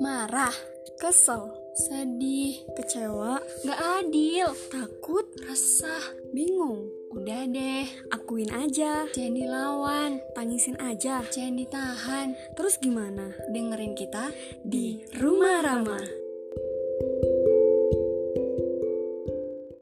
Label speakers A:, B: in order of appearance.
A: marah, kesel, sedih, kecewa, gak adil, takut, resah, bingung. Udah deh, akuin aja. Jangan dilawan, tangisin aja. Jangan ditahan. Terus gimana? Dengerin kita di Rumah Rama.